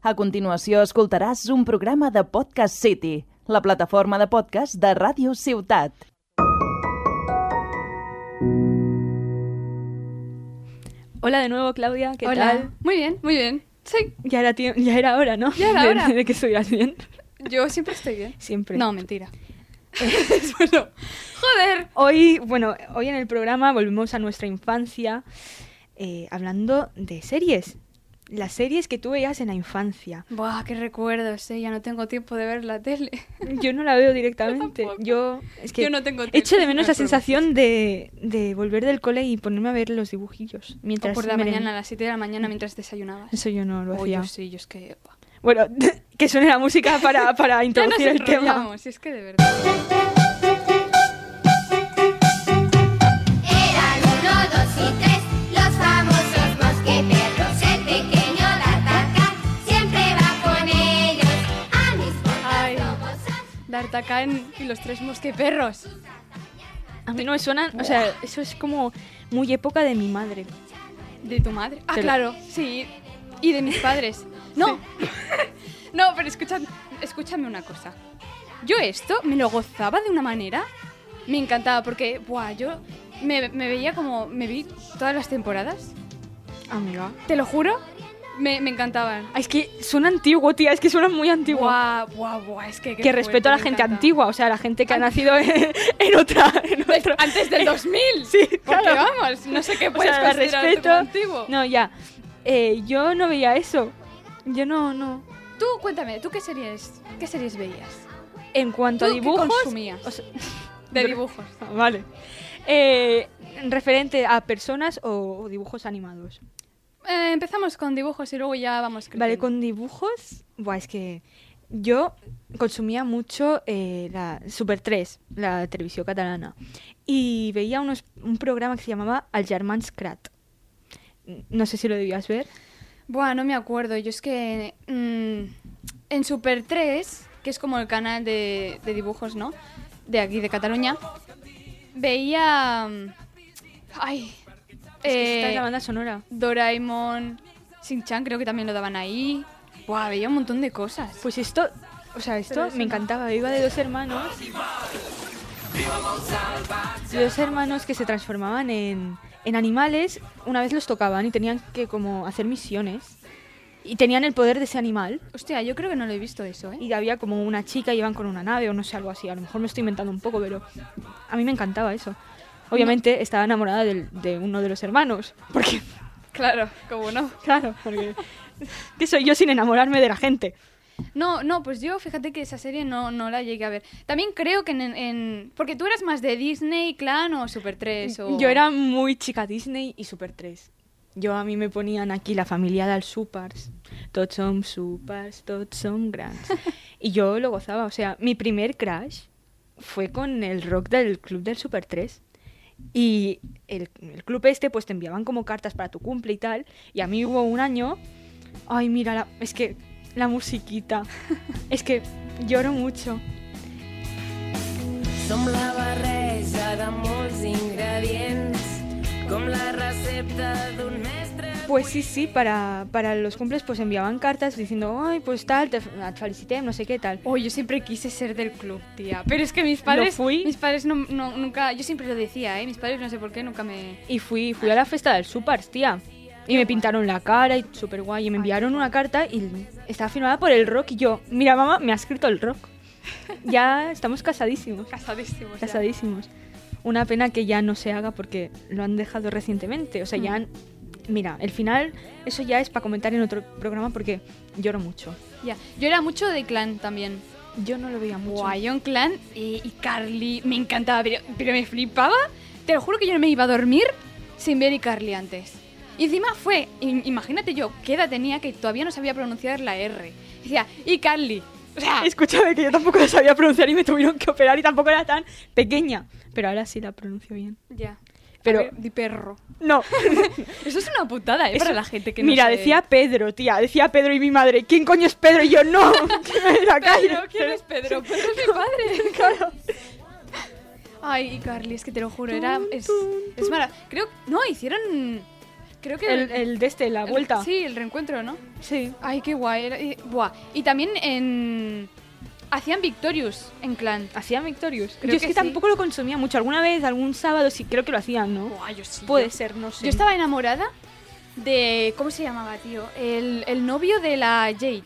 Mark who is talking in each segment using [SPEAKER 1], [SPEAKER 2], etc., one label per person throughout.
[SPEAKER 1] A continuació escoltaràs un programa de Podcast City, la plataforma de podcast de Ràdio Ciutat.
[SPEAKER 2] Hola de nuevo, Claudia. ¿Qué
[SPEAKER 3] Hola.
[SPEAKER 2] tal?
[SPEAKER 3] Muy bien, muy bien. Sí,
[SPEAKER 2] Ya era, tie- ya era hora, ¿no?
[SPEAKER 3] Ya era
[SPEAKER 2] De-
[SPEAKER 3] hora.
[SPEAKER 2] De, que estuvieras bien.
[SPEAKER 3] yo siempre estoy bien.
[SPEAKER 2] Siempre.
[SPEAKER 3] No, mentira. Bueno, joder.
[SPEAKER 2] Hoy, bueno, hoy en el programa volvemos a nuestra infancia eh, hablando de series. Las series que tú veías en la infancia.
[SPEAKER 3] Buah, qué recuerdos, eh. Ya no tengo tiempo de ver la tele.
[SPEAKER 2] Yo no la veo directamente.
[SPEAKER 3] Yo tampoco.
[SPEAKER 2] Yo, es que
[SPEAKER 3] Yo no tengo
[SPEAKER 2] echo de
[SPEAKER 3] tele,
[SPEAKER 2] menos la
[SPEAKER 3] no hay problema.
[SPEAKER 2] sensación de, de volver del cole y ponerme a ver los dibujillos. Mientras
[SPEAKER 3] O por la
[SPEAKER 2] meren-
[SPEAKER 3] mañana, a las 7 de la mañana, mientras desayunabas.
[SPEAKER 2] Eso yo no lo
[SPEAKER 3] Oh,
[SPEAKER 2] hacía.
[SPEAKER 3] yo sí, yo es que... buah.
[SPEAKER 2] Bueno, que suene la música para, para
[SPEAKER 3] Ya nos
[SPEAKER 2] introducir el tema.
[SPEAKER 3] enrollamos, es que de verdad.
[SPEAKER 4] Eran uno, dos y tres, los famosos mosqueteros. El pequeño D'Artagnan siempre va con ellos. A mis
[SPEAKER 3] Ay.
[SPEAKER 4] puntas lobosas.
[SPEAKER 3] D'Artagnan y los tres mosqueperros.
[SPEAKER 2] A mí no me suenan, o sea, eso es como muy época de mi madre.
[SPEAKER 3] De tu madre. Ah,
[SPEAKER 2] Te lo-
[SPEAKER 3] claro, sí. Y de mis padres. No. no, pero escucha- escúchame una cosa. Yo esto me lo gozaba de una manera. Me encantaba porque, buah, yo me, me veía como. Me vi todas las temporadas.
[SPEAKER 2] Amiga.
[SPEAKER 3] Te lo juro. Me, me encantaban.
[SPEAKER 2] Ah, es que suena antiguo, tía, es que suena muy antiguo.
[SPEAKER 3] Buah, buah, buah. Es que. qué
[SPEAKER 2] que respeto a la
[SPEAKER 3] fuerte, me
[SPEAKER 2] gente
[SPEAKER 3] encanta.
[SPEAKER 2] antigua, o sea, la gente que ha
[SPEAKER 3] Ay.
[SPEAKER 2] nacido en, en otra. En
[SPEAKER 3] Pues,
[SPEAKER 2] otro-
[SPEAKER 3] Antes del 2000.
[SPEAKER 2] Sí,
[SPEAKER 3] Porque
[SPEAKER 2] claro.
[SPEAKER 3] vamos, no sé qué
[SPEAKER 2] O
[SPEAKER 3] puedes
[SPEAKER 2] sea, la
[SPEAKER 3] considerar tú
[SPEAKER 2] respeto.
[SPEAKER 3] como antiguo.
[SPEAKER 2] No, ya. Eh, yo no veía eso. Yo no, no.
[SPEAKER 3] Tú, cuéntame, ¿tú qué series, qué series veías?
[SPEAKER 2] En cuanto a
[SPEAKER 3] ¿Tú qué
[SPEAKER 2] dibujos.
[SPEAKER 3] consumías?
[SPEAKER 2] o sea-
[SPEAKER 3] De
[SPEAKER 2] Yo-
[SPEAKER 3] dibujos.
[SPEAKER 2] Ah, Vale. Eh, referente a personas o, o dibujos animados.
[SPEAKER 3] Eh, empezamos con dibujos y luego ya vamos creciendo.
[SPEAKER 2] Vale, con dibujos. Buah, es que yo consumía mucho eh, la Super 3, la televisión catalana. Y veía unos, un programa que se llamaba Al Germans Krat. No sé si lo debías ver.
[SPEAKER 3] Buah, no me acuerdo. Yo es que mm, en Super 3, que es como el canal de, de dibujos, ¿no? De aquí, de Cataluña, veía... mm, Ay...
[SPEAKER 2] Es que esta
[SPEAKER 3] eh,
[SPEAKER 2] es la banda sonora.
[SPEAKER 3] Doraemon, Shin-Chan creo que también lo daban ahí. Buah, veía un montón de cosas.
[SPEAKER 2] Pues esto, o sea, esto
[SPEAKER 3] Pero eso
[SPEAKER 2] me
[SPEAKER 3] no.
[SPEAKER 2] encantaba. Iba de dos hermanos. Dos hermanos que se transformaban en, en animales. Una vez los tocaban y tenían que como hacer misiones. Y tenían el poder de ese animal.
[SPEAKER 3] Hostia, yo creo que no lo he visto eso, ¿eh?
[SPEAKER 2] Y había como una chica y iban con una nave o no sé, algo así. A lo mejor me estoy inventando un poco, pero a mí me encantaba eso. Obviamente estaba enamorada del- de uno de los hermanos. Porque,
[SPEAKER 3] Claro, como no.
[SPEAKER 2] claro, porque... ¿Qué soy yo sin enamorarme de la gente?
[SPEAKER 3] No, no, pues yo fíjate que esa serie no, no la llegué a ver. También creo que en, en- Porque tú eras más de Disney, Clan o Super 3 o...
[SPEAKER 2] Yo era muy chica Disney y Super 3. Yo a mí me ponían aquí la familia del Supers. Tots som Supers, tots som grans. y yo lo gozaba. O sea, mi primer crash fue con el rock del club del Super 3. Y el, el club este, pues te enviaban como cartas para tu cumple y tal. Y a mí hubo un año. Ay, mira, la- es que la musiquita. es que lloro mucho.
[SPEAKER 5] Som la barreja de molts ingredients, com la recepta d'un mestre...
[SPEAKER 2] Pues sí, sí, para, para los cumples pues enviaban cartas diciendo, ay, pues tal, te, et felicitem, no sé qué tal.
[SPEAKER 3] Oh, yo siempre quise ser del club, tía. Pero es que mis padres...
[SPEAKER 2] Lo fui.
[SPEAKER 3] Mis padres no, no- nunca... Yo siempre lo decía, ¿eh? Mis padres no sé por qué nunca me...
[SPEAKER 2] Y fui, fui a la fiesta del Supers, tía. Y me pintaron la cara y súper guay. Y me enviaron una carta y estaba firmada por el rock. Y yo, mira, mamá, me ha escrito el rock. Ya estamos casadísimos.
[SPEAKER 3] Casadísimos. ya.
[SPEAKER 2] Casadísimos. Una pena que ya no se haga porque lo han dejado recientemente. O sea, ya. han- Mira, el final, eso ya es para comentar en otro programa porque lloro mucho.
[SPEAKER 3] Ya. Yo era mucho de Clan también.
[SPEAKER 2] Yo no lo veía mucho.
[SPEAKER 3] Guayón Clan y, y Carly. Me encantaba, pero, pero me flipaba. Te lo juro que yo no me iba a dormir sin ver y Carly antes. Y encima fue, im- imagínate yo, qué edad tenía que todavía no sabía pronunciar la R. Y decía, y Carly. O sea,
[SPEAKER 2] Escúchame, que yo tampoco la sabía pronunciar y me tuvieron que operar y tampoco era tan pequeña. Pero ahora sí la pronuncio bien.
[SPEAKER 3] ya.
[SPEAKER 2] Pero-
[SPEAKER 3] A ver, di perro.
[SPEAKER 2] No.
[SPEAKER 3] Eso es una putada, ¿eh? Para
[SPEAKER 2] Eso-
[SPEAKER 3] la gente que no
[SPEAKER 2] Mira,
[SPEAKER 3] sabe.
[SPEAKER 2] decía Pedro, tía. Decía Pedro y mi madre. ¿Quién coño es Pedro? Y yo, no. Que me la calle.
[SPEAKER 3] Pedro, ¿quién es Pedro? Pedro es mi padre.
[SPEAKER 2] Claro.
[SPEAKER 3] Ay, y Carly, es que te lo juro, era. Es, es mara- Creo. No, hicieron. Creo que...
[SPEAKER 2] El, el de este, la
[SPEAKER 3] el-
[SPEAKER 2] vuelta.
[SPEAKER 3] Sí, el reencuentro, ¿no?
[SPEAKER 2] Sí.
[SPEAKER 3] Ay, qué guay. era- y- buah. Y también en... Hacían Victorious en clan.
[SPEAKER 2] Hacían Victorious.
[SPEAKER 3] Creo
[SPEAKER 2] yo es
[SPEAKER 3] que
[SPEAKER 2] que,
[SPEAKER 3] sí.
[SPEAKER 2] tampoco lo consumía mucho. Alguna vez, algún sábado, sí, creo que lo hacían, ¿no?
[SPEAKER 3] Buah, yo sí.
[SPEAKER 2] Puede
[SPEAKER 3] yo-
[SPEAKER 2] ser, no sé.
[SPEAKER 3] Pues, Yo estaba enamorada de... ¿Cómo se llamaba, tío? El, el novio de la Jade.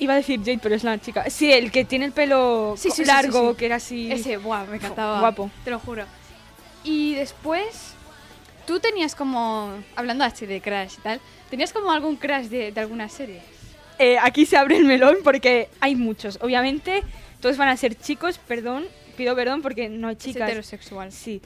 [SPEAKER 2] Iba a decir Jade, pero es la chica. Sí, el que tiene el pelo
[SPEAKER 3] Sí,
[SPEAKER 2] co-
[SPEAKER 3] sí, sí,
[SPEAKER 2] largo,
[SPEAKER 3] sí, sí.
[SPEAKER 2] que era así.
[SPEAKER 3] Ese, buah, me encantaba.
[SPEAKER 2] Guapo.
[SPEAKER 3] Te lo juro. Y después, tú tenías como, hablando así de Crash y tal, tenías como algún Crash de, de alguna serie.
[SPEAKER 2] Eh, aquí se abre el melón porque hay muchos. Obviamente, todos van a ser chicos, perdón. Pido perdón porque no hay
[SPEAKER 3] Es
[SPEAKER 2] chicas.
[SPEAKER 3] heterosexual.
[SPEAKER 2] Sí.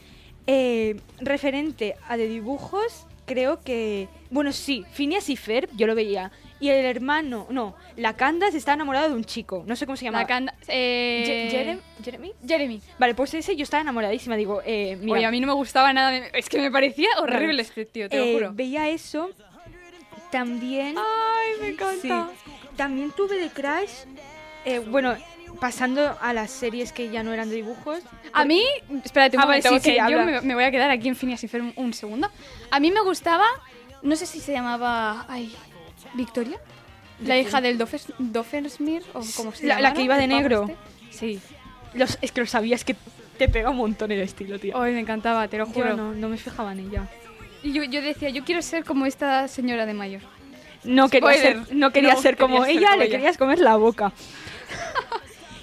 [SPEAKER 2] Eh, referente a de dibujos, creo que. Bueno, sí, Phineas y Ferb, yo lo veía. Y el hermano, no, la Candace está enamorada de un chico, no sé cómo se llama.
[SPEAKER 3] La canda- eh,
[SPEAKER 2] ¿Jeremy?
[SPEAKER 3] Jeremy.
[SPEAKER 2] Vale, pues ese yo estaba enamoradísima, digo, eh, mira.
[SPEAKER 3] Oye, a mí no me gustaba nada. de- Es que me parecía horrible este tío, te
[SPEAKER 2] eh,
[SPEAKER 3] lo juro.
[SPEAKER 2] Veía eso. También.
[SPEAKER 3] Ay, me
[SPEAKER 2] Sí.
[SPEAKER 3] encanta.
[SPEAKER 2] También tuve de Crash. eh, bueno, pasando a las series que ya no eran de dibujos.
[SPEAKER 3] A mí, espérate un
[SPEAKER 2] Ah, vale,
[SPEAKER 3] momento,
[SPEAKER 2] sí, sí,
[SPEAKER 3] que yo
[SPEAKER 2] habla.
[SPEAKER 3] me, me voy a quedar aquí en Phineas y Ferb un segundo. A mí me gustaba, no sé si se llamaba, ay, Victoria, la hija del Dofes- Doffersmir o como se
[SPEAKER 2] La- la
[SPEAKER 3] llamara,
[SPEAKER 2] que iba
[SPEAKER 3] el
[SPEAKER 2] de
[SPEAKER 3] pavo
[SPEAKER 2] negro.
[SPEAKER 3] este. Sí,
[SPEAKER 2] Los, es que lo sabías que te pega un montón el estilo, tío.
[SPEAKER 3] hoy me encantaba, te lo juro.
[SPEAKER 2] Yo no, no me fijaba en ella.
[SPEAKER 3] Y yo, yo decía, yo quiero ser como esta señora de mayor.
[SPEAKER 2] No quería
[SPEAKER 3] Spoiler.
[SPEAKER 2] ser, no quería
[SPEAKER 3] No
[SPEAKER 2] ser como
[SPEAKER 3] querías ser
[SPEAKER 2] ella,
[SPEAKER 3] como
[SPEAKER 2] le
[SPEAKER 3] ella.
[SPEAKER 2] querías comer la boca.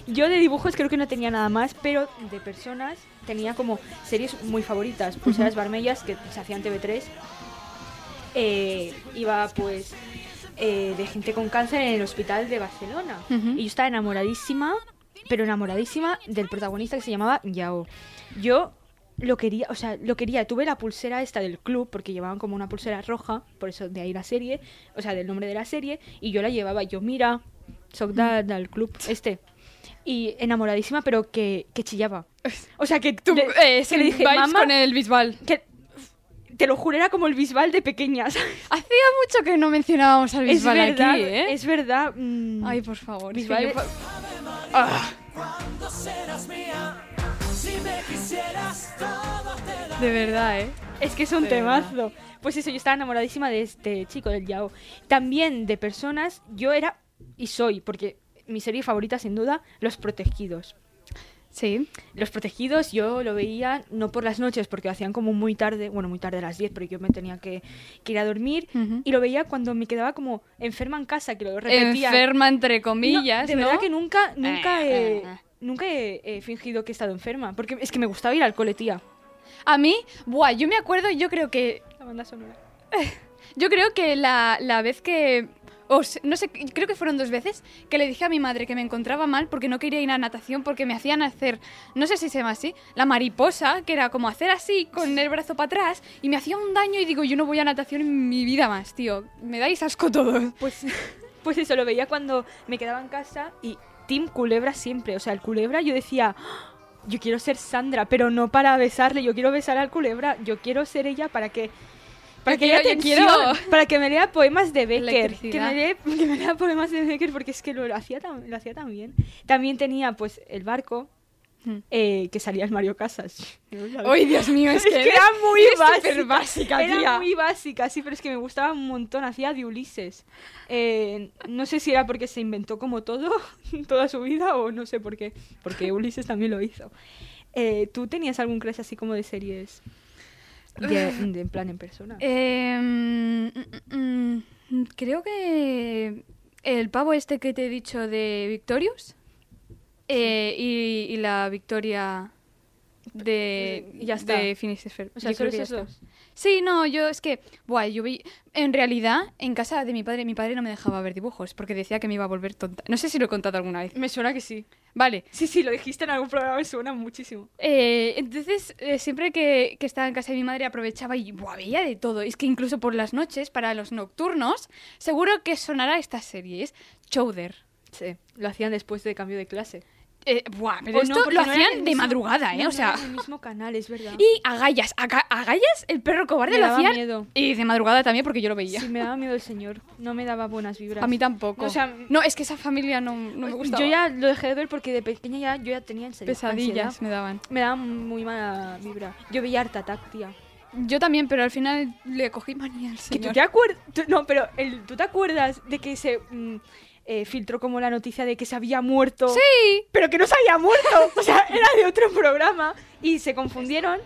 [SPEAKER 2] Yo de dibujos creo que no tenía nada más, pero de personas tenía como series muy favoritas. Pulseras Barmellas, que se hacían TV3. Eh, iba pues eh, de gente con cáncer en el hospital de Barcelona.
[SPEAKER 3] Ujú.
[SPEAKER 2] Y yo estaba enamoradísima, pero enamoradísima del protagonista que se llamaba Yao. Yo lo quería, o sea, lo quería. Tuve la pulsera esta del club, porque llevaban como una pulsera roja, por eso de ahí la serie, o sea, del nombre de la serie, y yo la llevaba. Yo, mira, soy da- del club, este. Y enamoradísima, pero que, que chillaba. O sea, que
[SPEAKER 3] Tú,
[SPEAKER 2] le-
[SPEAKER 3] eh,
[SPEAKER 2] que
[SPEAKER 3] le dije,
[SPEAKER 2] "Mamá",
[SPEAKER 3] con el Bisbal.
[SPEAKER 2] que- te lo juro, era como el bisbal de pequeñas.
[SPEAKER 3] Hacía mucho que no mencionábamos al
[SPEAKER 2] Es
[SPEAKER 3] Bisbal
[SPEAKER 2] verdad,
[SPEAKER 3] aquí, ¿eh?
[SPEAKER 2] es verdad. mm.
[SPEAKER 3] Ay, por favor. es que
[SPEAKER 2] Bisbal
[SPEAKER 3] yo
[SPEAKER 2] es- Ah,
[SPEAKER 3] pa- De verdad, ¿eh?
[SPEAKER 2] Es que es un
[SPEAKER 3] De
[SPEAKER 2] temazo. Pues eso, yo estaba enamoradísima de este chico, del Yao. También de personas, yo era y soy, porque mi serie favorita sin duda, Los Protegidos.
[SPEAKER 3] Sí.
[SPEAKER 2] Los Protegidos yo lo veía no por las noches, porque lo hacían como muy tarde, bueno, muy tarde a las 10, pero yo me tenía que, que ir a dormir.
[SPEAKER 3] Ujú.
[SPEAKER 2] Y lo veía cuando me quedaba como enferma en casa, que lo repetía.
[SPEAKER 3] Enferma, entre
[SPEAKER 2] No,
[SPEAKER 3] comillas,
[SPEAKER 2] de
[SPEAKER 3] ¿no?
[SPEAKER 2] verdad que nunca, nunca,
[SPEAKER 3] Eh,
[SPEAKER 2] he,
[SPEAKER 3] eh, eh.
[SPEAKER 2] nunca he, he fingido que he estado enferma, porque es que me gustaba ir al cole, tía.
[SPEAKER 3] A mí, buah, yo me acuerdo, yo creo que...
[SPEAKER 2] La banda sonora.
[SPEAKER 3] Yo creo que la, la vez que... o se- no sé, creo que fueron dos veces que le dije a mi madre que me encontraba mal porque no quería ir a natación porque me hacían hacer, no sé si se llama así, la mariposa, que era como hacer así con el brazo para atrás y me hacía un daño y digo, yo no voy a natación en mi vida más, tío. Me dais asco todos.
[SPEAKER 2] Pues, pues eso, lo veía cuando me quedaba en casa y Team Culebra siempre. O sea, el Culebra yo decía, "¡Ah! yo quiero ser Sandra, pero no para besarle, yo quiero besar al Culebra, yo quiero ser ella para que... Para
[SPEAKER 3] Yo
[SPEAKER 2] que,
[SPEAKER 3] quiero-
[SPEAKER 2] haya
[SPEAKER 3] yo
[SPEAKER 2] tensión,
[SPEAKER 3] quiero.
[SPEAKER 2] para que me lea poemas de Becker. Que
[SPEAKER 3] Electricidad.
[SPEAKER 2] me, lea, que me lea poemas de Becker porque es que lo, lo hacía, tan, lo hacía tan bien. También tenía pues el barco
[SPEAKER 3] Hmm.
[SPEAKER 2] eh, que salía el Mario Casas.
[SPEAKER 3] Ay, Dios mío, es,
[SPEAKER 2] Es que
[SPEAKER 3] eres-
[SPEAKER 2] era muy
[SPEAKER 3] eres
[SPEAKER 2] básica.
[SPEAKER 3] superbásica,
[SPEAKER 2] era
[SPEAKER 3] tía.
[SPEAKER 2] muy básica, sí, pero es que me gustaba un montón. Hacía de Ulises. Eh, no sé si era porque se inventó como todo, toda su vida, o no sé por qué. Porque Ulises también lo hizo. Eh, ¿Tú tenías algún crush así como de series? De, de- en plan, en persona.
[SPEAKER 3] Eh, mm, mm, mm, creo que el pavo este que te he dicho de Victorious eh, y, y la victoria de,
[SPEAKER 2] Ya está.
[SPEAKER 3] de Phineas y Ferb.
[SPEAKER 2] o sea,
[SPEAKER 3] Yo
[SPEAKER 2] solo
[SPEAKER 3] creo que ya
[SPEAKER 2] esos
[SPEAKER 3] está.
[SPEAKER 2] dos.
[SPEAKER 3] Sí, no, yo es que, guay, yo vi, en realidad, en casa de mi padre, mi padre no me dejaba ver dibujos porque decía que me iba a volver tonta. No sé si lo he contado alguna vez.
[SPEAKER 2] Me suena que sí.
[SPEAKER 3] Vale,
[SPEAKER 2] Sí, sí, lo dijiste en algún programa, me suena muchísimo.
[SPEAKER 3] Eh, entonces, eh, siempre que, que estaba en casa de mi madre aprovechaba y buah, veía de todo. Es que incluso por las noches, para los nocturnos, seguro que sonará esta serie. Es Chowder.
[SPEAKER 2] Sí, lo hacían después de cambio de clase.
[SPEAKER 3] Eh, buah, pero esto lo hacían de madrugada, ¿eh? o sea...
[SPEAKER 2] el mismo canal, es verdad.
[SPEAKER 3] Y Agallas, Aga- Agallas, el perro cobarde,
[SPEAKER 2] Me
[SPEAKER 3] lo
[SPEAKER 2] daba
[SPEAKER 3] hacían...
[SPEAKER 2] miedo.
[SPEAKER 3] Y de madrugada también, porque yo lo veía.
[SPEAKER 2] Sí, me daba miedo el señor. No me daba buenas vibras.
[SPEAKER 3] A mí tampoco.
[SPEAKER 2] O sea,
[SPEAKER 3] no, es que esa familia no, no me gustaba.
[SPEAKER 2] Yo ya lo dejé de ver porque de pequeña ya yo ya tenía en serio
[SPEAKER 3] Pesadillas
[SPEAKER 2] ansiedad.
[SPEAKER 3] me daban.
[SPEAKER 2] Me daba muy mala vibra. Yo veía Art Attack, tía.
[SPEAKER 3] Yo también, pero al final le cogí manía al
[SPEAKER 2] Que tú
[SPEAKER 3] señor.
[SPEAKER 2] te acuerdas. No, pero el- ¿tú te acuerdas de que se mm, eh, filtró como la noticia de que se había muerto?
[SPEAKER 3] Sí,
[SPEAKER 2] Pero que no se había muerto. O sea, era de otro programa y se confundieron.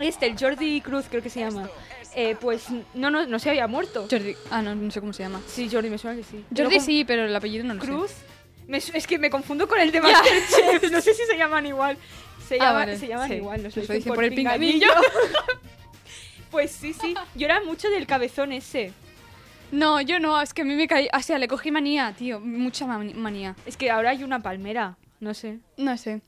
[SPEAKER 2] Este, el Jordi Cruz, creo que se llama. Eh, pues no, no, no se había muerto.
[SPEAKER 3] Jordi. Ah, no, no sé cómo se llama.
[SPEAKER 2] Sí, Jordi, me suena que sí.
[SPEAKER 3] Jordi
[SPEAKER 2] Pero
[SPEAKER 3] sí, pero el apellido no
[SPEAKER 2] con
[SPEAKER 3] lo
[SPEAKER 2] Cruz.
[SPEAKER 3] sé.
[SPEAKER 2] me su- es que me confundo con el de Masterchef. no sé si se llaman igual. Se,
[SPEAKER 3] Ah,
[SPEAKER 2] llama-
[SPEAKER 3] vale,
[SPEAKER 2] se llaman
[SPEAKER 3] sí.
[SPEAKER 2] igual, nos
[SPEAKER 3] Nos
[SPEAKER 2] lo dicen por,
[SPEAKER 3] el
[SPEAKER 2] pinganillo.
[SPEAKER 3] pinganillo.
[SPEAKER 2] pues sí, sí. Yo era mucho del cabezón ese.
[SPEAKER 3] No, yo no, es que a mí me caí. O sea, le cogí manía, tío. Mucha mani- manía.
[SPEAKER 2] Es que ahora hay una palmera. No sé.
[SPEAKER 3] No sé.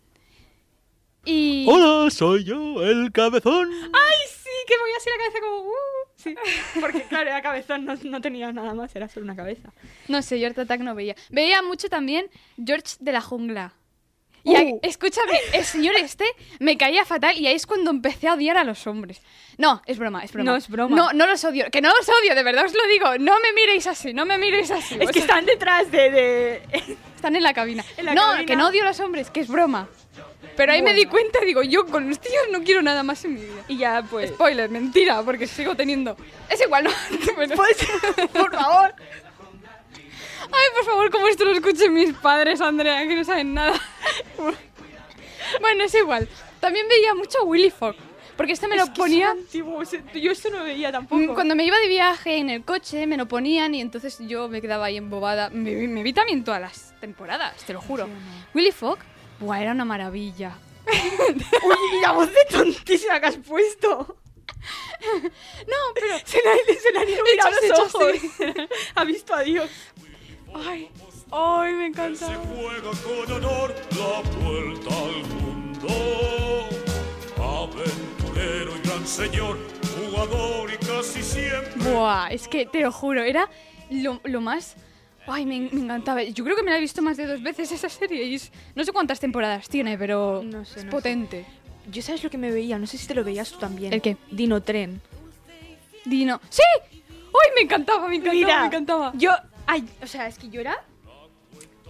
[SPEAKER 3] Y.
[SPEAKER 6] Hola, soy yo, el cabezón.
[SPEAKER 2] ¡Ay, sí! Que voy así la cabeza como... "Uh". Sí, porque claro, la cabezón no, no tenía nada más, era solo una cabeza.
[SPEAKER 3] No sé, George Attack no veía. Veía mucho también George de la jungla. Y ahí-
[SPEAKER 2] Uh.
[SPEAKER 3] escúchame, el señor este me caía fatal y ahí es cuando empecé a odiar a los hombres. No, es broma, es broma.
[SPEAKER 2] No, es broma.
[SPEAKER 3] No, no los odio. Que no los odio, de verdad os lo digo. No me miréis así, no me miréis así.
[SPEAKER 2] Es que
[SPEAKER 3] O sea,
[SPEAKER 2] están detrás de... de-
[SPEAKER 3] están en la cabina.
[SPEAKER 2] En la
[SPEAKER 3] no,
[SPEAKER 2] cabina.
[SPEAKER 3] que no odio a los hombres, que es broma. Pero ahí me di cuenta, digo, yo con los tíos no quiero nada más en mi vida.
[SPEAKER 2] y ya, pues...
[SPEAKER 3] Spoiler, mentira, porque sigo teniendo. Es igual, no. Bueno.
[SPEAKER 2] Pues, por favor.
[SPEAKER 3] Ay, por favor, como esto lo escuchen mis padres, Andrea, que no saben nada. bueno, es igual. También veía mucho a Willy Fox, porque este me lo
[SPEAKER 2] Es que
[SPEAKER 3] ponía...
[SPEAKER 2] son antiguos, eh, yo esto no lo veía
[SPEAKER 3] mm,
[SPEAKER 2] tampoco.
[SPEAKER 3] Cuando me iba de viaje en el coche, me lo ponían y entonces yo me quedaba ahí embobada. Me, vi- me vi también todas las temporadas, te lo juro. Willy Fox, buah, era una maravilla.
[SPEAKER 2] Uy, y la voz de tontísima que has puesto.
[SPEAKER 3] No, pero...
[SPEAKER 2] Se le, se le han iluminado
[SPEAKER 3] Hechos,
[SPEAKER 2] los
[SPEAKER 3] hechos,
[SPEAKER 2] ojos. ha visto a Dios.
[SPEAKER 3] Ay, ay, me encantaba.
[SPEAKER 7] juega con honor la vuelta al mundo. Aventurero y gran señor, jugador y casi siempre.
[SPEAKER 3] Buah, es que te lo juro, era lo, lo más... Ay, me, me encantaba. Yo creo que me la he visto más de dos veces esa serie. Y es- no sé cuántas temporadas tiene, pero
[SPEAKER 2] No sé,
[SPEAKER 3] es
[SPEAKER 2] no sé.
[SPEAKER 3] potente.
[SPEAKER 2] Yo sabes lo que me veía, no sé si te lo veías tú también.
[SPEAKER 3] ¿El qué?
[SPEAKER 2] Dino Tren.
[SPEAKER 3] Dino. ¡Sí! ¡Ay, me encantaba, me encantaba,
[SPEAKER 2] Mira,
[SPEAKER 3] me encantaba!
[SPEAKER 2] Yo, ay, o sea, es que yo era,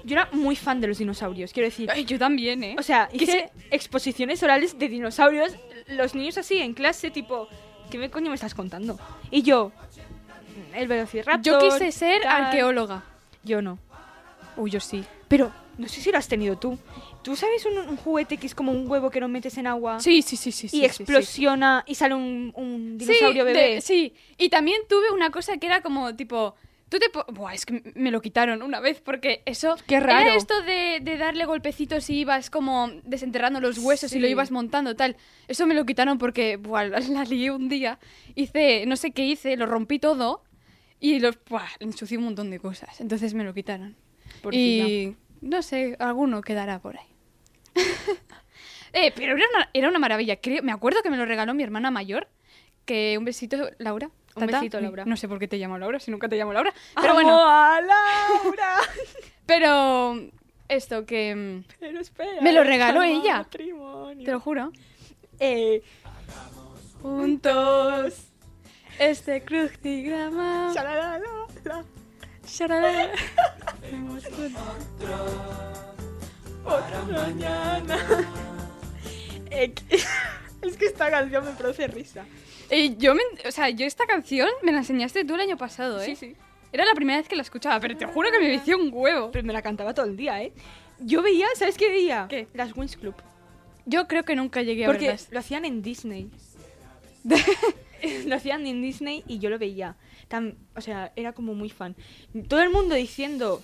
[SPEAKER 2] yo era muy fan de los dinosaurios, quiero decir.
[SPEAKER 3] Ay, yo también, ¿eh?
[SPEAKER 2] O sea,
[SPEAKER 3] ¿Qué
[SPEAKER 2] hice exposiciones orales de dinosaurios, los niños así en clase, tipo, ¿qué me coño me estás contando? Y yo, el velociraptor.
[SPEAKER 3] yo quise ser
[SPEAKER 2] tal.
[SPEAKER 3] arqueóloga.
[SPEAKER 2] Yo no.
[SPEAKER 3] Uy, yo sí.
[SPEAKER 2] Pero no sé si lo has tenido tú. ¿Tú sabes un, un juguete que es como un huevo que lo metes en agua?
[SPEAKER 3] Sí, sí, sí, sí.
[SPEAKER 2] Ah. Y explosiona y sale un, un
[SPEAKER 3] Sí,
[SPEAKER 2] dinosaurio
[SPEAKER 3] de-
[SPEAKER 2] bebé.
[SPEAKER 3] sí, y también tuve una cosa que era como tipo. Tú te. po- Buah, es que m- me lo quitaron una vez porque eso.
[SPEAKER 2] Qué raro.
[SPEAKER 3] Era esto de, de darle golpecitos y ibas como desenterrando los huesos y lo
[SPEAKER 2] Sí.
[SPEAKER 3] ibas montando, tal. Eso me lo quitaron porque, buah, la, la lié un día. Hice, no sé qué hice, lo rompí todo y los. Buah, ensucié un montón de cosas. Entonces me lo quitaron.
[SPEAKER 2] Pobrecita.
[SPEAKER 3] Y no sé, alguno quedará por ahí. Eh, pero era una, era una maravilla. Creo, me acuerdo que me lo regaló mi hermana mayor. Que un besito, Laura.
[SPEAKER 2] Un besito, Laura.
[SPEAKER 3] No sé por qué te llamo Laura, si nunca te llamo Laura.
[SPEAKER 2] Amo
[SPEAKER 3] Pero bueno,
[SPEAKER 2] a Laura.
[SPEAKER 3] pero esto que... mm,
[SPEAKER 2] Pero espera.
[SPEAKER 3] Me lo regaló
[SPEAKER 2] estamos
[SPEAKER 3] ella.
[SPEAKER 2] matrimonio.
[SPEAKER 3] Te lo juro.
[SPEAKER 2] Eh,
[SPEAKER 3] Juntos. Este crucigrama.
[SPEAKER 2] shalalala, la-
[SPEAKER 3] Sharará.
[SPEAKER 2] otra mañana. Eh, que- es que esta canción me produce risa.
[SPEAKER 3] Eh, yo me, o sea, yo esta canción me la enseñaste tú el año pasado, ¿eh?
[SPEAKER 2] sí.
[SPEAKER 3] Era la primera vez que la escuchaba, pero te juro que me vició un huevo.
[SPEAKER 2] Pero me la cantaba todo el día, ¿eh? Yo veía, ¿sabes qué veía?
[SPEAKER 3] ¿Qué?
[SPEAKER 2] Las Wings Club.
[SPEAKER 3] Yo creo que nunca llegué a
[SPEAKER 2] Porque
[SPEAKER 3] verlas.
[SPEAKER 2] lo hacían en Disney. lo hacían en Disney y yo lo veía. Tan- o sea, era como muy fan. Todo el mundo diciendo,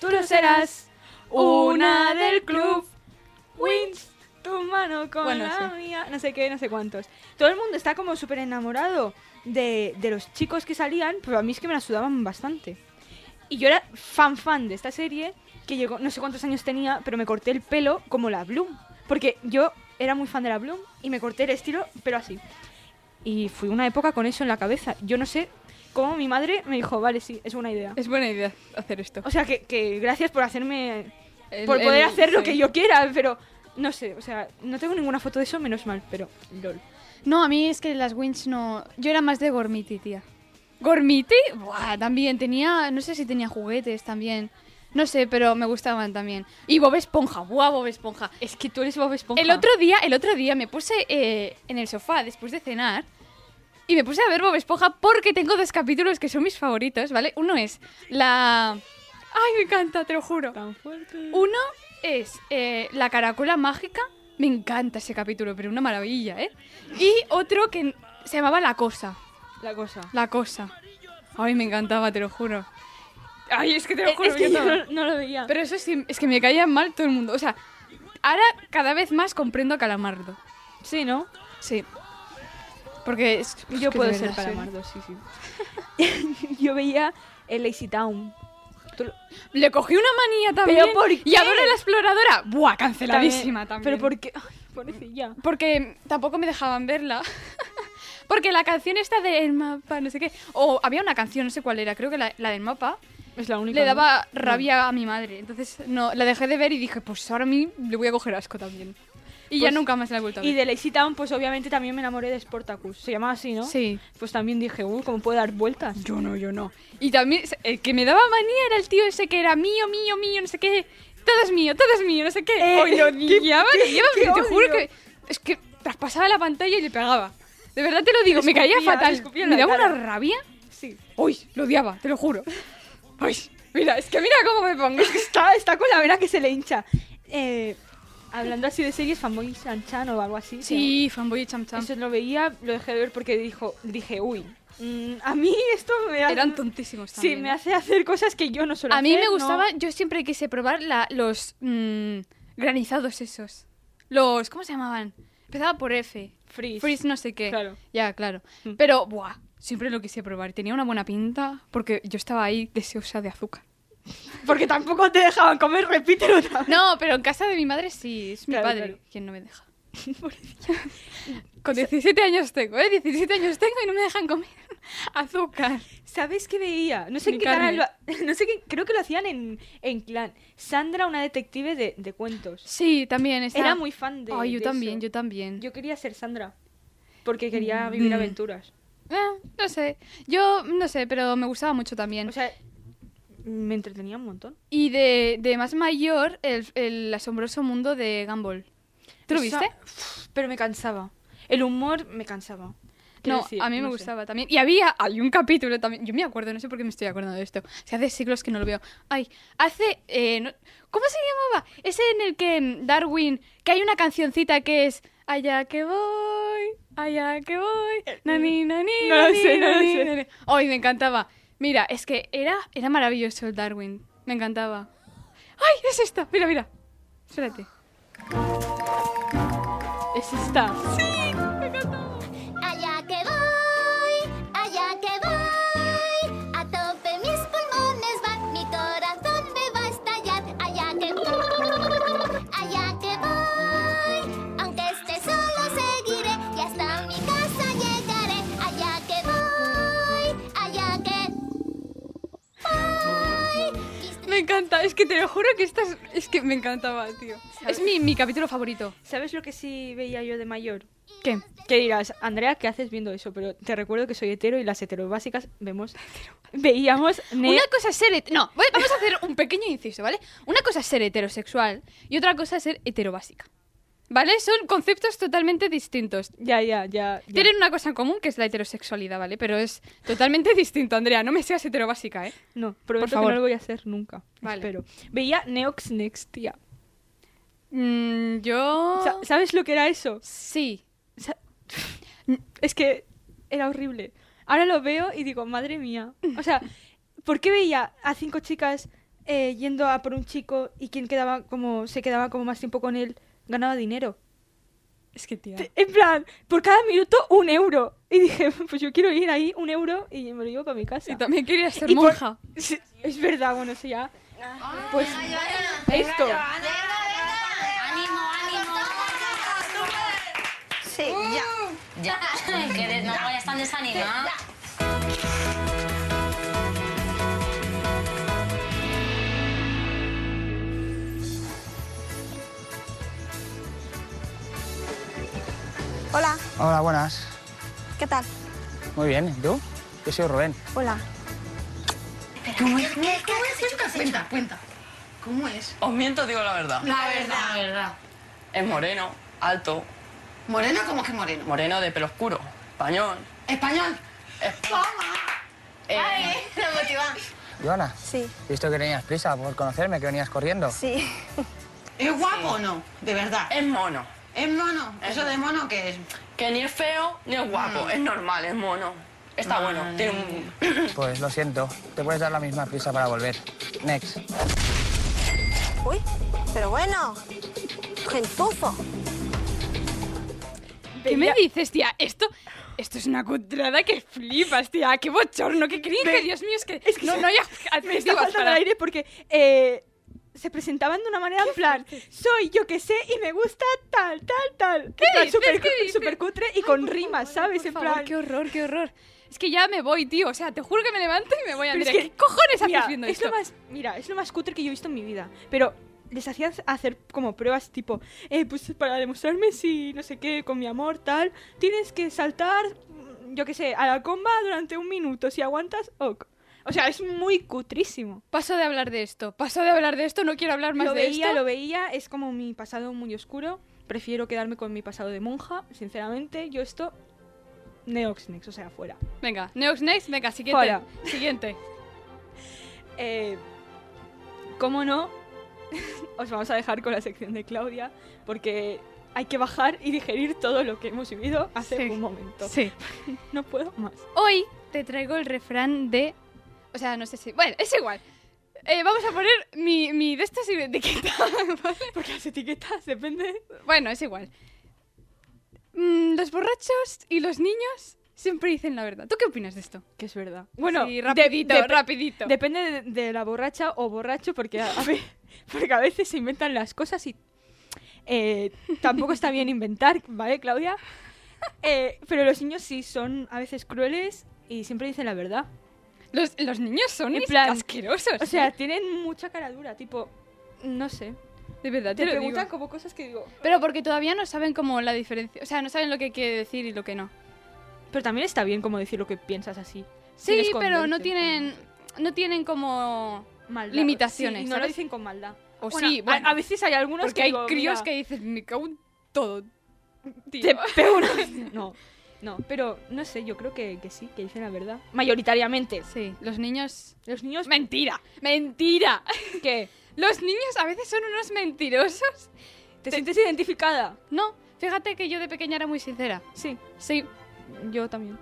[SPEAKER 2] tú lo serás, una del club, wins tu mano con
[SPEAKER 3] Bueno,
[SPEAKER 2] la
[SPEAKER 3] sí.
[SPEAKER 2] mía, no sé qué, no sé cuántos. Todo el mundo está como súper enamorado de, de los chicos que salían, pero a mí es que me la sudaban bastante. Y yo era fan fan de esta serie, que llegó, no sé cuántos años tenía, pero me corté el pelo como la Bloom. Porque yo era muy fan de la Bloom y me corté el estilo, pero así. Y fui una época con eso en la cabeza. Yo no sé cómo mi madre me dijo, vale, sí, es buena idea.
[SPEAKER 3] Es buena idea hacer esto.
[SPEAKER 2] O sea, que, que gracias por hacerme...
[SPEAKER 3] El-
[SPEAKER 2] por poder
[SPEAKER 3] el-
[SPEAKER 2] hacer lo
[SPEAKER 3] sí.
[SPEAKER 2] que yo quiera, pero... No sé, o sea, no tengo ninguna foto de eso, menos mal, pero lol.
[SPEAKER 3] No, a mí es que las wins no... Yo era más de Gormiti, tía. ¿Gormiti? Buah, también tenía... No sé si tenía juguetes también. No sé, pero me gustaban también. Y Bob Esponja, guau, Bob Esponja.
[SPEAKER 8] Es que tú eres Bob Esponja.
[SPEAKER 3] El otro día, el otro día me puse eh, en el sofá después de cenar y me puse a ver Bob Esponja porque tengo dos capítulos que son mis favoritos, ¿vale? Uno es la... Ay, me encanta, te lo juro.
[SPEAKER 2] Tan fuerte.
[SPEAKER 3] Uno es eh, la caracola mágica. Me encanta ese capítulo, pero una maravilla, ¿eh? Y otro que se llamaba La Cosa.
[SPEAKER 2] La cosa.
[SPEAKER 3] La Cosa. Ay, me encantaba, te lo juro. Ay, es que te lo
[SPEAKER 2] Eh, Es,
[SPEAKER 3] juro. me
[SPEAKER 2] que yo
[SPEAKER 3] encantaba.
[SPEAKER 2] no, no lo veía.
[SPEAKER 3] Pero eso sí, es que me caía mal todo el mundo. O sea, ahora cada vez más comprendo a Calamardo.
[SPEAKER 2] sí, ¿no?
[SPEAKER 3] Sí. Porque es- es
[SPEAKER 2] Yo
[SPEAKER 3] que
[SPEAKER 2] puedo
[SPEAKER 3] de
[SPEAKER 2] ser
[SPEAKER 3] verdad,
[SPEAKER 2] Calamardo, sí, sí. yo veía el Lazy Town.
[SPEAKER 3] sí. Le cogí una manía también.
[SPEAKER 2] ¿Pero por
[SPEAKER 3] Y
[SPEAKER 2] qué?
[SPEAKER 3] ahora la exploradora. Buah, canceladísima también.
[SPEAKER 2] Pero porque... Ay, pobrecilla.
[SPEAKER 3] Porque tampoco me dejaban verla. Porque la canción esta del mapa, no sé qué. O había una canción, no sé cuál era, creo que la, la del mapa.
[SPEAKER 2] Es la única.
[SPEAKER 3] Le
[SPEAKER 2] ¿no?
[SPEAKER 3] daba rabia a mi madre. Entonces no, la dejé de ver y dije, pues ahora a mí le voy a coger asco también. Y ya
[SPEAKER 2] Pues-
[SPEAKER 3] nunca más la he vuelto a ver.
[SPEAKER 2] Y de Lazy Town, pues obviamente también me enamoré de Sportacus. Se llamaba así, ¿no?
[SPEAKER 3] Sí.
[SPEAKER 2] Pues también dije, uh, ¿cómo puede dar vueltas?
[SPEAKER 3] Yo no, yo no. Y también, el que me daba manía era el tío ese que era mío, mío, mío, no sé qué. Todo es mío, todo es mío, no sé qué.
[SPEAKER 2] Eh,
[SPEAKER 3] Oye,
[SPEAKER 2] qué-
[SPEAKER 3] lo odiaba, lo odiaba,
[SPEAKER 2] qué
[SPEAKER 3] pero te juro
[SPEAKER 2] odio.
[SPEAKER 3] que. Es que traspasaba la pantalla y le pegaba. De verdad te lo digo, me caía
[SPEAKER 2] escupía, le
[SPEAKER 3] fatal.
[SPEAKER 2] escupía en
[SPEAKER 3] Me
[SPEAKER 2] la
[SPEAKER 3] daba una
[SPEAKER 2] cara.
[SPEAKER 3] rabia.
[SPEAKER 2] Sí.
[SPEAKER 3] Uy, lo odiaba, te lo juro. Uy, mira, es que mira cómo me pongo.
[SPEAKER 2] Es que está, está con la vena que se le hincha. Eh, hablando así de series, Fanboy Sanchan o algo así.
[SPEAKER 3] Sí, fanboy y cham
[SPEAKER 2] que
[SPEAKER 3] cham.
[SPEAKER 2] Eso lo veía, lo dejé de ver porque dijo, dije, uy, mm, a mí esto me hace...
[SPEAKER 3] Eran tontísimos
[SPEAKER 2] Sí,
[SPEAKER 3] también.
[SPEAKER 2] me
[SPEAKER 3] ¿eh?
[SPEAKER 2] hace hacer cosas que yo no suelo
[SPEAKER 3] A mí
[SPEAKER 2] hacer,
[SPEAKER 3] me
[SPEAKER 2] no-
[SPEAKER 3] gustaba, yo siempre quise probar la- los mm, granizados esos. Los, ¿cómo se llamaban? Empezaba por F.
[SPEAKER 2] Freeze.
[SPEAKER 3] Freeze no sé qué.
[SPEAKER 2] Claro.
[SPEAKER 3] Ya, claro.
[SPEAKER 2] Mm.
[SPEAKER 3] Pero, buah, siempre lo quise probar. Tenía una buena pinta porque yo estaba ahí deseosa de azúcar.
[SPEAKER 2] Porque tampoco te dejaban comer, repítelo otra vez.
[SPEAKER 3] No, pero en casa de mi madre sí, es mi
[SPEAKER 2] Claro,
[SPEAKER 3] padre
[SPEAKER 2] claro.
[SPEAKER 3] quien no me deja. Pobrecilla. Con 17 años tengo, ¿eh? 17 años tengo y no me dejan comer azúcar.
[SPEAKER 2] ¿Sabes qué veía? No sé
[SPEAKER 3] Ni
[SPEAKER 2] en qué canal
[SPEAKER 3] carne.
[SPEAKER 2] lo ha- No sé qué... Creo que lo hacían en, en Clan. Sandra, una detective de, de cuentos.
[SPEAKER 3] Sí, también. está-
[SPEAKER 2] Era muy fan de
[SPEAKER 3] Ay, yo
[SPEAKER 2] de
[SPEAKER 3] también,
[SPEAKER 2] eso.
[SPEAKER 3] yo también.
[SPEAKER 2] Yo quería ser Sandra. Porque quería vivir
[SPEAKER 3] Mm.
[SPEAKER 2] aventuras.
[SPEAKER 3] Eh, no sé. Yo no sé, pero me gustaba mucho también.
[SPEAKER 2] O sea, me entretenía un montón.
[SPEAKER 3] y de, de más mayor, el, el asombroso mundo de Gumball. ¿Tú lo
[SPEAKER 2] Eso-
[SPEAKER 3] viste?
[SPEAKER 2] Uf, pero me cansaba. El humor me cansaba. Quiero
[SPEAKER 3] No,
[SPEAKER 2] decir,
[SPEAKER 3] a mí me
[SPEAKER 2] sé.
[SPEAKER 3] gustaba también. Y había, hay un capítulo también, yo me acuerdo, no sé por qué me estoy acordando de esto. O sea, hace siglos que no lo veo. Ay, hace, eh, no- ¿cómo se llamaba? Ese en el que mm, Darwin, que hay una cancioncita que es Allá que voy, allá que voy, nani, nani,
[SPEAKER 2] Eh, no lo
[SPEAKER 3] nani,
[SPEAKER 2] sé, no lo
[SPEAKER 3] nani,
[SPEAKER 2] sé.
[SPEAKER 3] nani". Ay, me encantaba. Mira, es que era, era maravilloso el Darwin, me encantaba. Ay, es esta, mira, mira. Espérate.
[SPEAKER 2] Es esta.
[SPEAKER 4] Allá que voy, allá que voy, a tope mis pulmones van, mi corazón me va a estallar. Allá que voy, allá que voy, aunque esté solo seguiré y hasta mi casa llegaré. Allá que voy, allá que
[SPEAKER 3] Me encanta, es que te lo juro que esta es, es que me encantaba, tío. Es mi, mi capítulo favorito.
[SPEAKER 2] ¿Sabes lo que sí veía yo de mayor?
[SPEAKER 3] ¿Qué?
[SPEAKER 2] ¿Qué dirás? Andrea, ¿qué haces viendo eso? Pero te recuerdo que soy hetero y las heterobásicas vemos... Veíamos... Ne-
[SPEAKER 3] Una cosa es ser het- No, voy- vamos a hacer un pequeño inciso, ¿vale? Una cosa es ser heterosexual y otra cosa es ser heterobásica. ¿Vale? Son conceptos totalmente distintos.
[SPEAKER 2] Ya, ya, ya. ya.
[SPEAKER 3] Tienen una cosa en común que es la heterosexualidad, ¿vale? Pero es totalmente distinto, Andrea. No me seas heterobásica, ¿eh?
[SPEAKER 2] No, prometo
[SPEAKER 3] favor.
[SPEAKER 2] que no lo voy a hacer nunca.
[SPEAKER 3] Vale.
[SPEAKER 2] Espero. Veía Neox Next, tía.
[SPEAKER 3] Mm, yo.
[SPEAKER 2] Sa- ¿Sabes lo que era eso?
[SPEAKER 3] Sí.
[SPEAKER 2] Sa- es que era horrible. Ahora lo veo y digo, madre mía. O sea, ¿por qué veía a cinco chicas eh, yendo a por un chico y quien quedaba como se quedaba como más tiempo con él ganaba dinero?
[SPEAKER 3] Es que, tía.
[SPEAKER 2] Te- En plan, por cada minuto un euro. Y dije, pues yo quiero ir ahí un euro y me lo llevo para mi casa.
[SPEAKER 3] Y también quería ser
[SPEAKER 2] Y por-
[SPEAKER 3] monja.
[SPEAKER 2] Sí, Es verdad, bueno, sí, ya.
[SPEAKER 3] Ah,
[SPEAKER 2] Pues esto.
[SPEAKER 9] Sí, ya. Ya. Que de- no vayas tan desanimada.
[SPEAKER 10] Hola,
[SPEAKER 11] Hola, buenas.
[SPEAKER 10] ¿qué tal?
[SPEAKER 11] Muy bien, ¿y tú? Yo soy Rubén.
[SPEAKER 10] Hola.
[SPEAKER 9] ¿Cómo es? ¿Cómo es? ¿Cómo es? Cuenta, cuenta.
[SPEAKER 8] ¿Cómo es?
[SPEAKER 12] Os miento, digo la verdad.
[SPEAKER 8] La verdad.
[SPEAKER 12] La verdad. Es moreno, alto.
[SPEAKER 8] ¿Moreno? ¿Cómo que moreno?
[SPEAKER 12] Moreno de pelo oscuro, español.
[SPEAKER 8] ¿Español?
[SPEAKER 12] Español.
[SPEAKER 9] Eh. Vale, lo motivan.
[SPEAKER 11] Joana.
[SPEAKER 10] Sí.
[SPEAKER 11] He visto que tenías prisa por conocerme, que venías corriendo.
[SPEAKER 10] Sí.
[SPEAKER 8] ¿Es guapo o no? De verdad.
[SPEAKER 12] Es mono.
[SPEAKER 8] ¿Es mono? ¿Eso de mono qué es?
[SPEAKER 12] Que ni es feo ni es guapo,
[SPEAKER 10] Mm.
[SPEAKER 12] es normal, es mono. Está bueno, tiene un...
[SPEAKER 11] Pues lo siento, te puedes dar la misma prisa para volver. Next.
[SPEAKER 10] Uy, pero bueno. Gentufo.
[SPEAKER 3] ¿Qué me dices, tía? Esto, esto es una cutrada que flipas, tía. Qué bochorno, qué cringe, Dios mío. Es que, no, no hay
[SPEAKER 2] Me está
[SPEAKER 3] adjetivos
[SPEAKER 2] faltando
[SPEAKER 3] para...
[SPEAKER 2] el aire porque eh, se presentaban de una manera en plan, soy yo que sé y me gusta tal, tal, tal.
[SPEAKER 3] ¿Qué
[SPEAKER 2] En plan,
[SPEAKER 3] dices?
[SPEAKER 2] Súper
[SPEAKER 3] ¿Qué dices?
[SPEAKER 2] súper cutre y con rimas, ¿sabes? En
[SPEAKER 3] Por favor,
[SPEAKER 2] plan...
[SPEAKER 3] qué horror, qué horror. Es que ya me voy, tío. O sea, te juro que me levanto y me voy a
[SPEAKER 2] Pero es
[SPEAKER 3] ¿Qué
[SPEAKER 2] que-
[SPEAKER 3] cojones
[SPEAKER 2] mira,
[SPEAKER 3] haces viendo
[SPEAKER 2] es
[SPEAKER 3] esto?
[SPEAKER 2] Lo más, mira, es lo más cutre que yo he visto en mi vida. Pero les hacían hacer como pruebas tipo, eh, pues para demostrarme si no sé qué, con mi amor, tal, tienes que saltar, mm, yo qué sé, a la comba durante un minuto. Si aguantas, ok. O sea, es muy cutrísimo.
[SPEAKER 3] Paso de hablar de esto. Paso de hablar de esto. No quiero hablar más
[SPEAKER 2] lo
[SPEAKER 3] de
[SPEAKER 2] veía,
[SPEAKER 3] esto.
[SPEAKER 2] lo veía, es como mi pasado muy oscuro. Prefiero quedarme con mi pasado de monja, sinceramente. Yo esto, Neoxnex, o sea, fuera.
[SPEAKER 3] Venga, Neox Next. Venga, siguiente.
[SPEAKER 2] Fuera.
[SPEAKER 3] Siguiente.
[SPEAKER 2] Eh, ¿Cómo no? Os vamos a dejar con la sección de Claudia, porque hay que bajar y digerir todo lo que hemos vivido hace
[SPEAKER 3] Sí.
[SPEAKER 2] un momento.
[SPEAKER 3] Sí.
[SPEAKER 2] No puedo más.
[SPEAKER 3] Hoy te traigo el refrán de... O sea, no sé si... Bueno, es igual. Eh, vamos a poner mi, mi de estas etiquetas, ¿vale?
[SPEAKER 2] Porque las etiquetas depende...
[SPEAKER 3] Bueno, es igual. Mm, los borrachos y los niños siempre dicen la verdad. ¿Tú qué opinas de esto?
[SPEAKER 2] Que es verdad. Bueno,
[SPEAKER 3] Sí,
[SPEAKER 2] de-
[SPEAKER 3] rapidito,
[SPEAKER 2] dep-
[SPEAKER 3] rapidito.
[SPEAKER 2] Depende de, de la borracha o borracho, porque a, a ve- porque a veces se inventan las cosas y eh, tampoco está bien inventar, ¿vale, Claudia? Eh, pero los niños sí son a veces crueles y siempre dicen la verdad.
[SPEAKER 3] Los, los niños son
[SPEAKER 2] En
[SPEAKER 3] is-
[SPEAKER 2] plan,
[SPEAKER 3] asquerosos. ¿eh?
[SPEAKER 2] O sea, tienen mucha cara dura, tipo, no sé.
[SPEAKER 3] De verdad,
[SPEAKER 2] Te
[SPEAKER 3] te, lo
[SPEAKER 2] preguntan
[SPEAKER 3] digo.
[SPEAKER 2] como cosas que digo.
[SPEAKER 3] Pero porque todavía no saben como la diferencia. O sea, no saben lo que quiere decir y lo que no.
[SPEAKER 2] Pero también está bien como decir lo que piensas así.
[SPEAKER 3] Sí, pero no tienen, no tienen como limitaciones.
[SPEAKER 2] y no lo
[SPEAKER 3] ¿sabes?
[SPEAKER 2] dicen con maldad.
[SPEAKER 3] O
[SPEAKER 2] Bueno,
[SPEAKER 3] sí,
[SPEAKER 2] a-
[SPEAKER 3] bueno.
[SPEAKER 2] a, veces hay algunos
[SPEAKER 3] Porque
[SPEAKER 2] que
[SPEAKER 3] hay
[SPEAKER 2] digo,
[SPEAKER 3] críos
[SPEAKER 2] mira,
[SPEAKER 3] que dicen, me cago en todo. Tío.
[SPEAKER 2] Te pego una- No, no, pero no sé, yo creo que, que sí, que dicen la verdad. Mayoritariamente.
[SPEAKER 3] Sí, los niños...
[SPEAKER 2] Los niños...
[SPEAKER 3] Mentira, mentira.
[SPEAKER 2] ¿Qué?
[SPEAKER 3] Los niños a veces son unos mentirosos.
[SPEAKER 2] ¿Te, sientes identificada?
[SPEAKER 3] No, fíjate que yo de pequeña era muy sincera.
[SPEAKER 2] Sí.
[SPEAKER 3] Sí,
[SPEAKER 2] Yo también.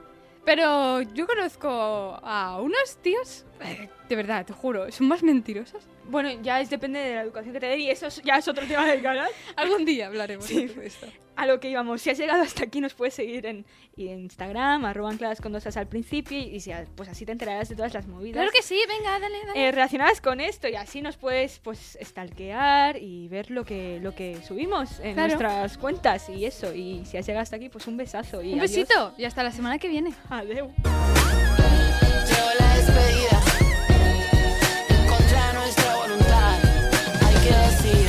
[SPEAKER 3] pero yo conozco a unos tíos... eh, De verdad, te juro, son más mentirosos.
[SPEAKER 2] Bueno, ya es depende de la educación que te den y eso es- ya es otro tema del canal.
[SPEAKER 3] Algún día hablaremos
[SPEAKER 2] Sí.
[SPEAKER 3] de esto.
[SPEAKER 2] a lo que íbamos. Si has llegado hasta aquí, nos puedes seguir en, en Instagram, arroba ancladas con dosas al principio y si, pues así te enterarás de todas las movidas.
[SPEAKER 3] Claro que sí, venga, dale, dale.
[SPEAKER 2] eh, relacionadas con esto y así nos puedes pues stalkear y ver lo que lo que subimos en
[SPEAKER 3] Claro.
[SPEAKER 2] nuestras cuentas y eso y si has llegado hasta aquí pues un besazo y
[SPEAKER 3] Un
[SPEAKER 2] adiós.
[SPEAKER 3] besito y hasta la semana que viene.
[SPEAKER 2] Adeu.
[SPEAKER 5] Llegó la despedida contra nuestra voluntad. Hay que decir